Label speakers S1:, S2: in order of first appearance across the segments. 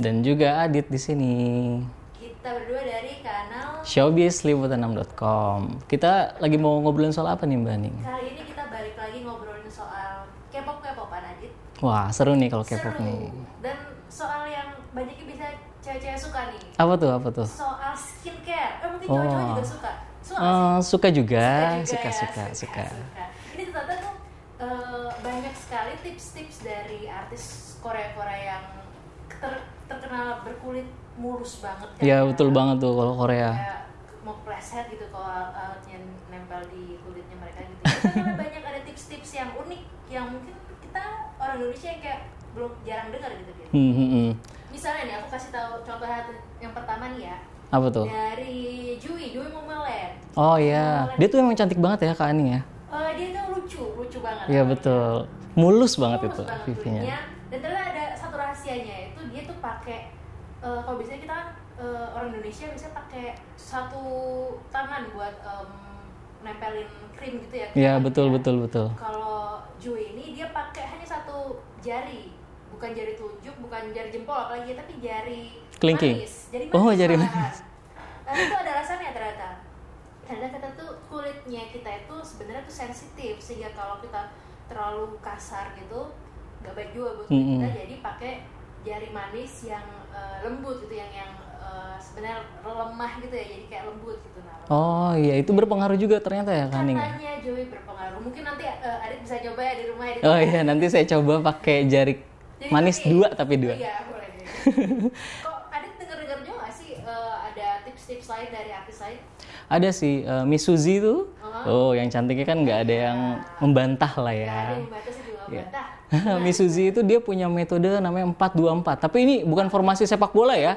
S1: dan juga Adit di sini.
S2: Kita berdua dari kanal
S1: Showbizliputan6.com. Kita lagi mau ngobrolin soal apa nih Mbak Aning?
S2: kali ini kita balik lagi ngobrolin soal K-pop K-popan Adit.
S1: Wah seru nih kalau Oh, K-pop nih.
S2: Dan soal yang banyak yang bisa cewek-cewek suka nih.
S1: Apa tuh apa tuh?
S2: Soal skincare. Eh mungkin
S1: Oh.
S2: cowok-cowok juga suka. Suka nggak sih?
S1: Eh, suka juga,
S2: Suka
S1: suka
S2: juga
S1: suka
S2: ya,
S1: suka.
S2: suka. Ini ternyata tuh eh, banyak sekali tips-tips dari artis Korea-Korea yang ter- terkenal berkulit mulus banget kan.
S1: Ya betul banget tuh kalau Korea.
S2: kayak mau pleset gitu kalau uh, yang nempel di kulitnya mereka gitu. Karena banyak ada tips-tips yang unik yang mungkin kita orang Indonesia yang kayak belum jarang dengar gitu gitu.
S1: Hmm, hmm, hmm.
S2: Misalnya nih aku kasih tahu contoh satu yang pertama nih ya
S1: Apa tuh?
S2: dari Jui, Jui Momoland.
S1: Oh iya, dia tuh emang cantik banget ya Kak Aning ya.
S2: Eh, dia tuh lucu, lucu banget.
S1: Iya betul, mulus banget
S2: Mulus
S1: itu
S2: banget kulitnya.
S1: pipinya.
S2: Dan ternyata ada satu rahasianya itu dia tuh pakai eh, kalau biasanya kita kan eh, orang Indonesia biasanya pakai satu tangan buat em, nempelin krim gitu ya.
S1: Iya
S2: kan,
S1: betul
S2: ya.
S1: betul betul.
S2: Kalau Joy ini dia pakai hanya satu jari, bukan jari tunjuk, bukan jari jempol apalagi tapi jari
S1: Kelingking.
S2: manis. Jari manis.
S1: Oh, jari
S2: malahan.
S1: manis.
S2: Dan itu ada rasanya ternyata. Ternyata kita tuh kulitnya kita itu sebenarnya tuh sensitif sehingga kalau kita terlalu kasar gitu nggak baik juga buat kulit kita.
S1: Mm-mm.
S2: Jadi pakai jari manis yang eh, lembut gitu yang yang eh, sebenarnya lemah gitu ya. Jadi kayak lembut gitu nah.
S1: Oh iya itu berpengaruh juga ternyata ya Kak Aning. ya?
S2: Katanya Joey berpengaruh. Mungkin nanti eh, Adit bisa coba ya di rumah Adit.
S1: Oh iya, nanti saya coba pakai jari manis dua tapi dua.
S2: Iya, boleh. boleh. Kok Adit denger-denger juga nggak sih eh, ada tips-tips lain dari artis lain?
S1: Ada sih eh, Miss Suzy tuh.
S2: Oh.
S1: Oh, yang cantiknya kan nggak ada yang
S2: Iya.
S1: membantah lah
S2: Nggak ada
S1: ya.
S2: yang membatasi juga
S1: Iya.
S2: bantah.
S1: Miss Suzy itu dia punya metode namanya 4-2-4. Tapi ini bukan formasi sepak bola ya.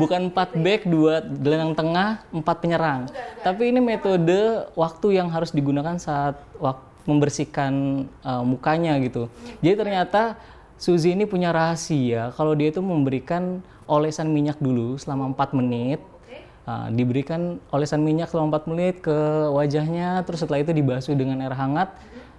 S1: Bukan 4 back, 2 gelandang tengah, 4 penyerang.
S2: Bukan, bukan.
S1: Tapi ini metode waktu yang harus digunakan saat wak- membersihkan uh, mukanya gitu. Jadi ternyata Suzy ini punya rahasia kalau dia itu memberikan olesan minyak dulu selama 4 menit.
S2: Oke.
S1: Uh, diberikan olesan minyak selama 4 menit ke wajahnya terus setelah itu dibasuh dengan air hangat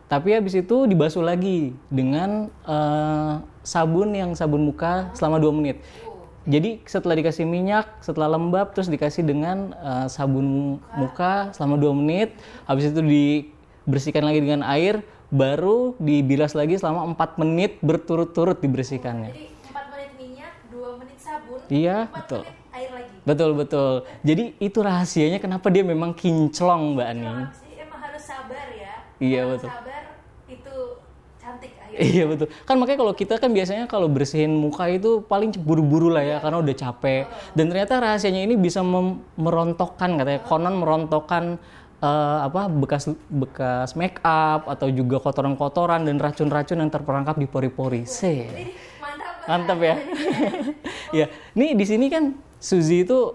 S1: tapi habis itu dibasuh lagi dengan uh, sabun yang sabun muka selama 2 menit
S2: Oh.
S1: jadi setelah dikasih minyak, setelah lembab, terus dikasih dengan eh, sabun muka selama 2 menit. Habis itu dibersihkan lagi dengan air, baru dibilas lagi selama 4 menit berturut-turut dibersihkannya.
S2: Jadi 4 menit minyak, 2 menit sabun,
S1: Iya,
S2: 4
S1: betul.
S2: menit air lagi.
S1: Betul betul. Jadi itu rahasianya kenapa dia memang kinclong Mbak Ani.
S2: Kalau abis ini emang harus sabar ya.
S1: Hmm. Iya,
S2: Kalau
S1: betul.
S2: Sabar itu cantik akhirnya.
S1: Iya betul. Kan makanya kalau kita kan biasanya kalau bersihin muka itu paling buru-buru lah ya karena udah capek. Dan ternyata rahasianya ini bisa mem- merontokkan katanya konon merontokkan eh, apa bekas bekas make up atau juga kotoran-kotoran dan racun-racun yang terperangkap di pori-pori. Seh.
S2: Jadi mantap banget.
S1: Mantap ya. ya, nih di sini kan Suzy itu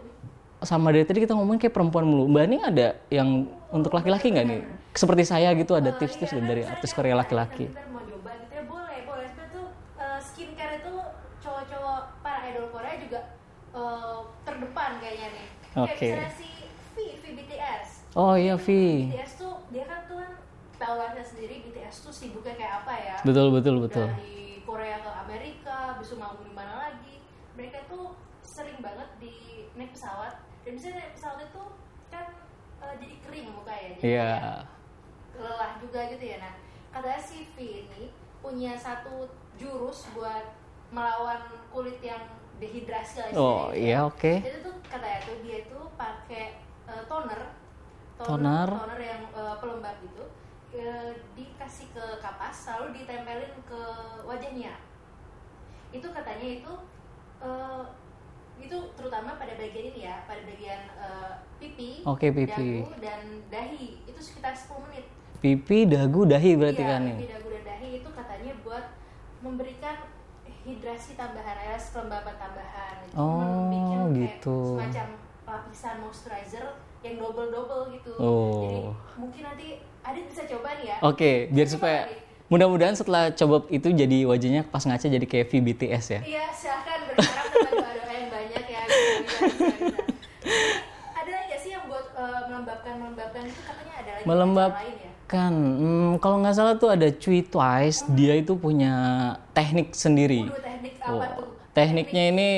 S1: sama dari tadi kita ngomongin kayak perempuan mulu. Mbak Aning ada yang untuk laki-laki nggak nih? Seperti saya gitu ada tips-tips dari artis Korea laki-laki.
S2: Kita mau coba gitu ya boleh, boleh. Sebenarnya tuh eh, skincare itu cowok-cowok para idol Korea juga eh, terdepan kayaknya nih. Kayak
S1: Oke.
S2: misalnya si V, V BTS.
S1: Oh iya, Vi.
S2: BTS tuh dia kan tuh kan tahu lah kita sendiri BTS tuh sibuknya kayak apa ya.
S1: Betul, betul, betul.
S2: Dari Korea ke Amerika, bisa mau di mana lagi. Mereka tuh sering banget di naik pesawat. Dan misalnya naik pesawat itu kan eh, jadi kering muka ya. Jadi
S1: Iya.
S2: kayak lelah juga gitu ya. Nah, katanya si V ini punya satu jurus buat melawan kulit yang dehidrasi lah
S1: Oh,
S2: istilahnya.
S1: iya oke.
S2: Itu tuh katanya tuh dia itu pakai eh, toner,
S1: Toner.
S2: toner yang eh, pelembab gitu, eh, dikasih ke kapas, lalu ditempelin ke wajahnya. Itu katanya itu eh, itu terutama pada bagian ini ya, pada bagian eh, pipi,
S1: Oke, pipi.
S2: dagu dan dahi. Itu sekitar 10 menit.
S1: Pipi, dagu, dahi berarti
S2: Iya,
S1: kan nih.
S2: pipi, dagu dan dahi itu katanya buat memberikan hidrasi tambahan, alias kelembaban tambahan. Itu
S1: Oh,
S2: membikin kayak
S1: gitu.
S2: Semacam lapisan moisturizer yang double double gitu.
S1: Oh.
S2: Jadi mungkin nanti Adit bisa coba nih ya.
S1: Oke, biar supaya mudah-mudahan setelah coba itu jadi wajahnya pas ngaca jadi kayak Vi BTS ya.
S2: Iya, silahkan berharap dengan doa-doa yang banyak ya. Bisa, bisa, bisa. Ada lagi nggak sih yang buat eh, melembabkan melembabkan itu katanya ada lagi
S1: Melembab-
S2: cara lain ya?
S1: Kan, hmm, kalau nggak salah tuh ada Cui Twice, dia itu punya teknik sendiri.
S2: Waduh, teknik apa
S1: Oh,
S2: tuh?
S1: Tekniknya ini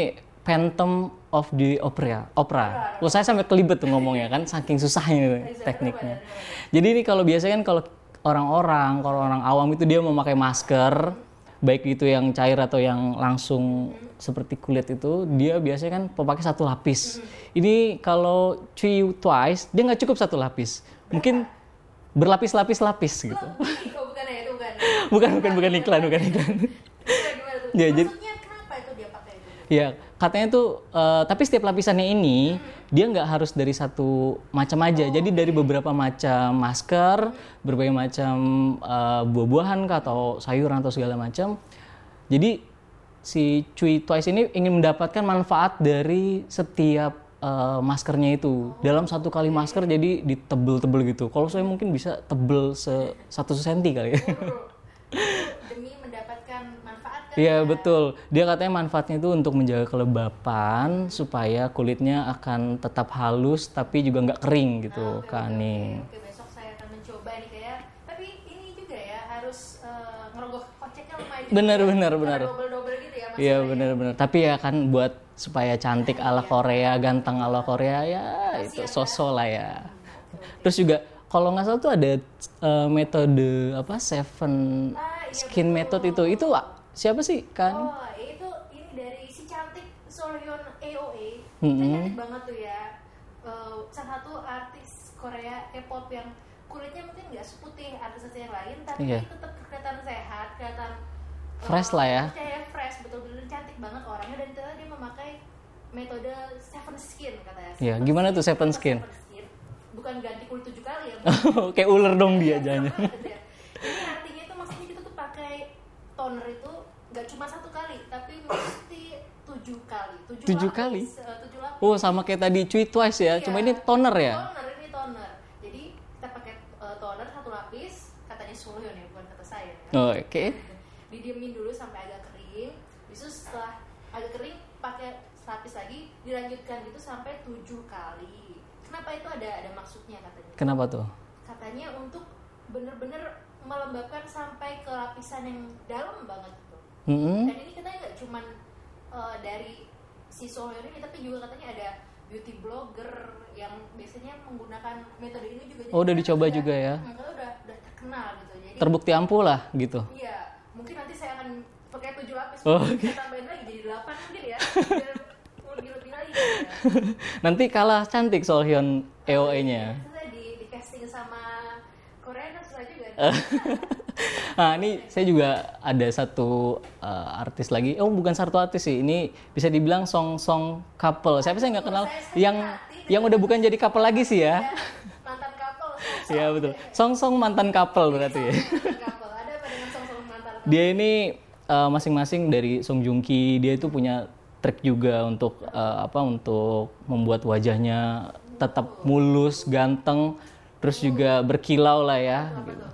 S1: Phantom of the Opera. Opera. Loh, saya sampai kelibet tuh ngomongnya kan, saking susahnya ini tekniknya. Jadi ini kalau biasanya kan kalau orang-orang, kalau orang awam itu dia memakai masker, baik itu yang cair atau yang langsung seperti kulit itu, dia biasanya kan memakai satu lapis. Ini kalau cuy twice, dia nggak cukup satu lapis. Mungkin berlapis-lapis-lapis gitu.
S2: Ih, kok bukan ya itu bukan.
S1: Bukan, bukan, bukan iklan, bukan iklan.
S2: Gimana, gimana tuh?
S1: Ya, jadi-
S2: Maksudnya kenapa itu dia pakai itu?
S1: Ya, katanya tuh, eh, tapi setiap lapisannya ini dia nggak harus dari satu macam aja. Jadi dari beberapa macam masker, berbagai macam eh, buah-buahan kah, atau sayuran atau segala macam. Jadi si Cui Twice ini ingin mendapatkan manfaat dari setiap eh, maskernya itu. Dalam satu kali masker jadi ditebel-tebel gitu. Kalau saya mungkin bisa tebel se satu senti kali. ya.
S2: Demi mendapatkan manfaat kan?
S1: Iya betul. Dia katanya manfaatnya itu untuk menjaga kelembapan supaya kulitnya akan tetap halus tapi juga nggak kering gitu kan nih.
S2: Oke, besok saya akan mencoba nih kayak. Tapi ini juga ya harus eh, ngerogoh koceknya lumayan. juga. ya.
S1: Benar, benar, benar.
S2: Double-double gitu ya
S1: Iya benar-benar. Tapi ya kan buat supaya cantik ala Korea, ganteng ala Korea ya itu sosok lah ya. Terus juga kalau nggak salah tuh ada eh, metode apa Seven Skin Method itu itu ah, siapa sih kan?
S2: Oh, itu ini dari si cantik Sohyeon AOA. Itu
S1: Mm-mm.
S2: cantik banget tuh ya. Eh, salah satu artis Korea K-pop yang kulitnya mungkin nggak seputih artis yang lain, tapi
S1: Iya.
S2: tetap kelihatan sehat, kelihatan
S1: Fresh
S2: eh,
S1: lah ya.
S2: Kayak fresh, betul-betul cantik banget orangnya dan ternyata dia memakai metode seven skin katanya.
S1: Iya,
S2: Seven
S1: gimana tuh seven
S2: Kenapa
S1: skin?
S2: skin? Bukan ganti kulit tujuh kali ya,
S1: Kayak ular dong
S2: Iya,
S1: dia jadinya.
S2: ini artinya itu maksudnya kita tuh pakai toner itu nggak cuma satu kali, tapi mesti tujuh kali.
S1: Tujuh
S2: lapis,
S1: kali?
S2: eh, tujuh lapis.
S1: Oh sama kayak tadi cuy twice
S2: Iya.
S1: ya, cuma ini toner ya.
S2: Toner ini toner. Jadi kita pakai eh, toner satu lapis, katanya Sulyon ya, bukan kata saya. Ya.
S1: Oh, Oke.
S2: Didiemin dulu sampai agak kering. Habis itu setelah agak kering pakai lapis lagi, dilanjutkan itu sampai tujuh kali. Kenapa itu ada ada maksudnya katanya?
S1: Kenapa tuh?
S2: katanya untuk bener-bener melembabkan sampai ke lapisan yang dalam banget gitu.
S1: Mm-mm.
S2: Dan ini katanya nggak cuman eh, dari si Sohyeon ini, tapi juga katanya ada beauty blogger yang biasanya menggunakan metode ini juga.
S1: Oh, udah
S2: Jadi
S1: dicoba
S2: mereka
S1: juga ya?
S2: mereka udah udah terkenal gitu. Jadi
S1: Terbukti ampuh lah gitu.
S2: iya, mungkin nanti saya akan pakai tujuh lapis,
S1: Oh,
S2: mungkin saya tambahin lagi jadi delapan mungkin ya. Biar lebih-lebih lagi ya.
S1: Nanti kalah cantik Solhyun EOE-nya.
S2: Terus saya di, di casting sama Korea terus saya juga.
S1: Nah, ini saya juga ada satu eh, artis lagi. Oh, bukan satu artis sih. Ini bisa dibilang song-song couple. Siapa sih yang nggak kenal yang yang udah bukan jadi couple lagi sih ya.
S2: mantan couple
S1: Iya betul. Song-song mantan couple berarti ya.
S2: mantan couple ada apa dengan song song mantan couple
S1: Dia ini eh, masing-masing dari Song Joong Ki, dia itu punya trik juga untuk eh, apa untuk membuat wajahnya tetap mulus, ganteng, terus juga berkilau lah ya. gitu.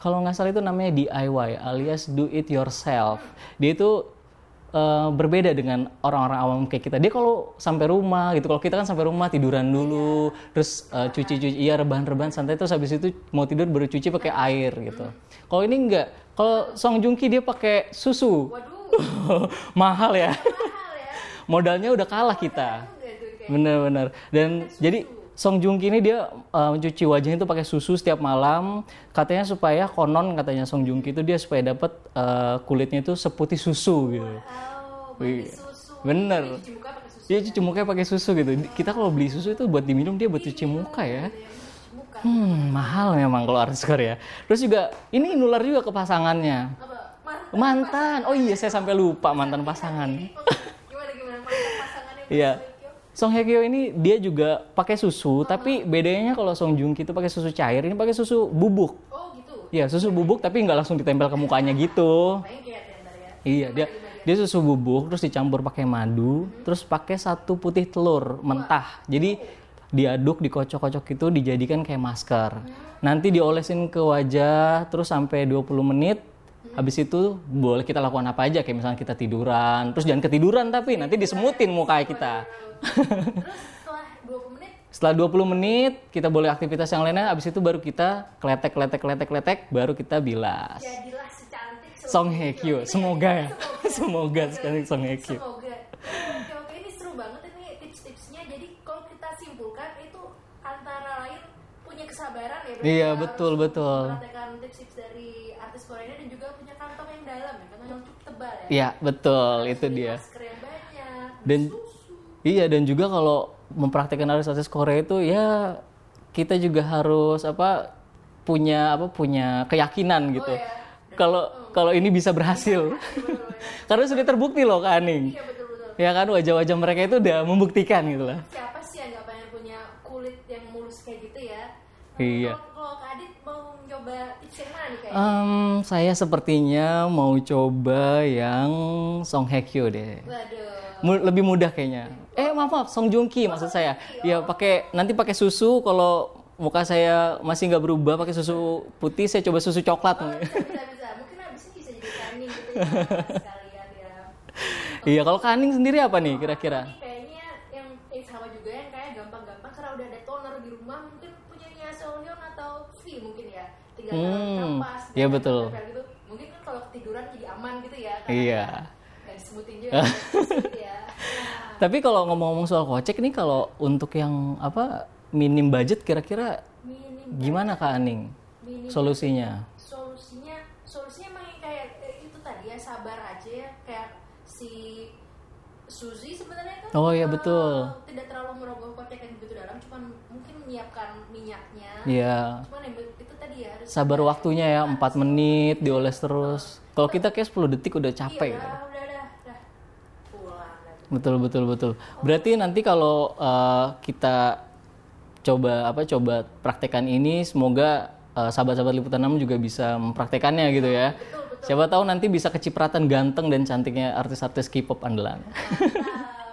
S1: Kalau nggak salah itu namanya DIY alias do it yourself. Dia itu eh, berbeda dengan orang-orang awam kayak kita. Dia kalau sampai rumah gitu, kalau kita kan sampai rumah tiduran dulu, terus eh, cuci-cuci, iya rebahan-rebahan santai, terus habis itu mau tidur baru cuci pakai air gitu. Kalau ini enggak, kalau Song Joong Ki dia pakai susu,
S2: waduh
S1: mahal
S2: mahal ya
S1: ya, modalnya udah kalah kita.
S2: enggak tuh kayak
S1: Bener-bener. Dan jadi Song Joong Ki ini dia uh, mencuci wajahnya itu pakai susu setiap malam. Katanya supaya konon katanya Song Joong Ki itu dia supaya dapat uh, kulitnya itu seputih susu gitu.
S2: oh mandi susu
S1: Bener.
S2: Jadi cuci muka pakai susu
S1: Dia cuci mukanya pakai susu gitu. Kita kalau beli susu itu buat diminum dia buat cuci muka
S2: gitu
S1: ya.
S2: ya. Cuci muka
S1: Hmm, mahal memang kalau artis Korea. Terus juga ini nular juga ke pasangannya.
S2: apa mantan
S1: Mantan. Oh iya saya sampai lupa mantan pasangan.
S2: gimana gimana mantan pasangannya
S1: Iya.
S2: Mas Baikyo?
S1: Song Hye Kyo ini dia juga pakai susu, tapi bedanya kalau Song Joong Ki itu pakai susu cair, ini pakai susu bubuk.
S2: oh gitu
S1: Iya, susu bubuk tapi nggak langsung ditempel ke mukanya gitu.
S2: lengket ya ntar ya
S1: Iya, dia dia susu bubuk terus dicampur pakai madu, terus pakai satu putih telur mentah. Jadi diaduk, dikocok-kocok itu dijadikan kayak masker. Nanti diolesin ke wajah terus sampai 20 menit. Habis itu boleh kita lakukan apa aja kayak misalnya kita tiduran, terus jangan ketiduran tapi nanti disemutin muka kita.
S2: terus setelah 20 menit
S1: Setelah 20 menit kita boleh aktivitas yang lainnya, habis itu baru kita kletek kletek kletek kletek baru kita bilas.
S2: jadilah secantik Iya,
S1: Song Hye Kyo, ya. semoga ya. Semoga sekali Song Hye Kyo.
S2: Semoga oke oke ini seru banget ini tips-tipsnya jadi kalau kita simpulkan itu antara lain punya kesabaran ya berarti
S1: Iya,
S2: kita
S1: betul,
S2: harus
S1: betul.
S2: mempraktekkan tips-tips dari artis Korea dan juga punya kantong yang dalam ya kantong yang tebal ya
S1: Iya, betul,
S2: Harus
S1: itu
S2: beli
S1: dia.
S2: masker yang banyak
S1: Dan-
S2: susu
S1: Iya, dan juga kalau mempraktikkan artis-artis Korea itu ya kita juga harus apa punya apa punya keyakinan gitu.
S2: ya.
S1: Kalau kalau ini bisa berhasil.
S2: Betul, ya.
S1: Karena sudah terbukti loh Kak Aning.
S2: iya betul betul
S1: Ya kan wajah-wajah mereka itu udah membuktikan gitu lah.
S2: siapa sih yang nggak pengen punya kulit yang mulus kayak gitu ya
S1: Iya. Ah.
S2: Kalau- kalau Kak Adit mau nyoba tips yang mana nih kayaknya
S1: Em, saya sepertinya mau coba yang Song Hye Kyo deh.
S2: waduh
S1: Mu- lebih mudah kayaknya. Eh maaf maaf, Song Joong Ki maksud saya. Ya pakai nanti pakai susu kalau muka saya masih nggak berubah pakai susu putih saya coba susu coklat.
S2: Oh, bisa, bisa, bisa. Mungkin abis ini bisa jadi kaning gitu ya. Sekalian ya.
S1: iya kalau kaning sendiri apa nih kira-kira?
S2: Ini kayaknya yang eh, sama juga yang kayak gampang-gampang karena udah ada toner di rumah mungkin punyanya Seongyeon atau V mungkin ya. Tiga
S1: Hmm,
S2: hmm, napas.
S1: iya, betul.
S2: Gitu. Mungkin kan kalau ketiduran jadi aman gitu ya.
S1: Iya.
S2: Dan smoothing juga. gitu ya. Nah,
S1: Tapi kalau ngomong-ngomong soal kocek nih kalau untuk yang apa minim budget
S2: Nah,
S1: kira-kira
S2: minim
S1: gimana Kak Aning
S2: minim
S1: solusinya?
S2: solusinya solusinya emang yang kayak eh, itu tadi ya sabar aja ya kayak si Suzy sebenarnya kan
S1: Oh, iya,
S2: eh,
S1: betul.
S2: tidak terlalu merogoh kocek yang begitu dalam cuman mungkin menyiapkan minyaknya
S1: Iya.
S2: cuman yang be- itu tadi ya harus
S1: Sabar waktunya ya 4 menit dioles terus. Kalau kita kayak 10 detik udah capek. gitu.
S2: iya, udah, udah, udah, pulang lagi.
S1: Betul betul betul. Berarti nanti kalau uh, kita coba apa coba praktekan ini semoga uh, sahabat-sahabat liputan 6 juga bisa mempraktekannya gitu ya. Siapa tahu nanti bisa kecipratan ganteng dan cantiknya artis-artis K-pop andalan.
S2: Wow,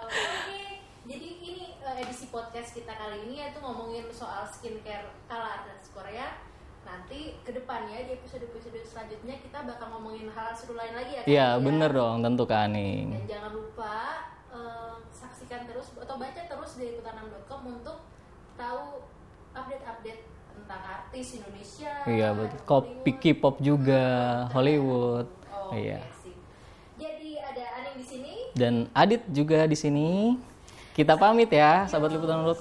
S2: oke jadi ini eh, edisi podcast kita kali ini yaitu ngomongin soal skincare ala artis Korea nanti kedepannya di episode-episode selanjutnya kita bakal ngomongin hal seru lain lagi ya Kak?
S1: Iya, bener dong tentu kan Kak Aning.
S2: Dan jangan lupa eh, saksikan terus atau baca terus di liputan6.com untuk tahu update-update tentang artis Indonesia.
S1: Iya, betul. Kopi
S2: Hollywood.
S1: K-pop juga, Hollywood.
S2: Oh,
S1: Iya.
S2: iya sih. Jadi ada Aning di sini.
S1: Dan Adit juga di sini. Kita pamit ya, sahabat liputan.com.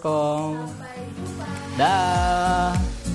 S2: Sampai jumpa.
S1: Dah.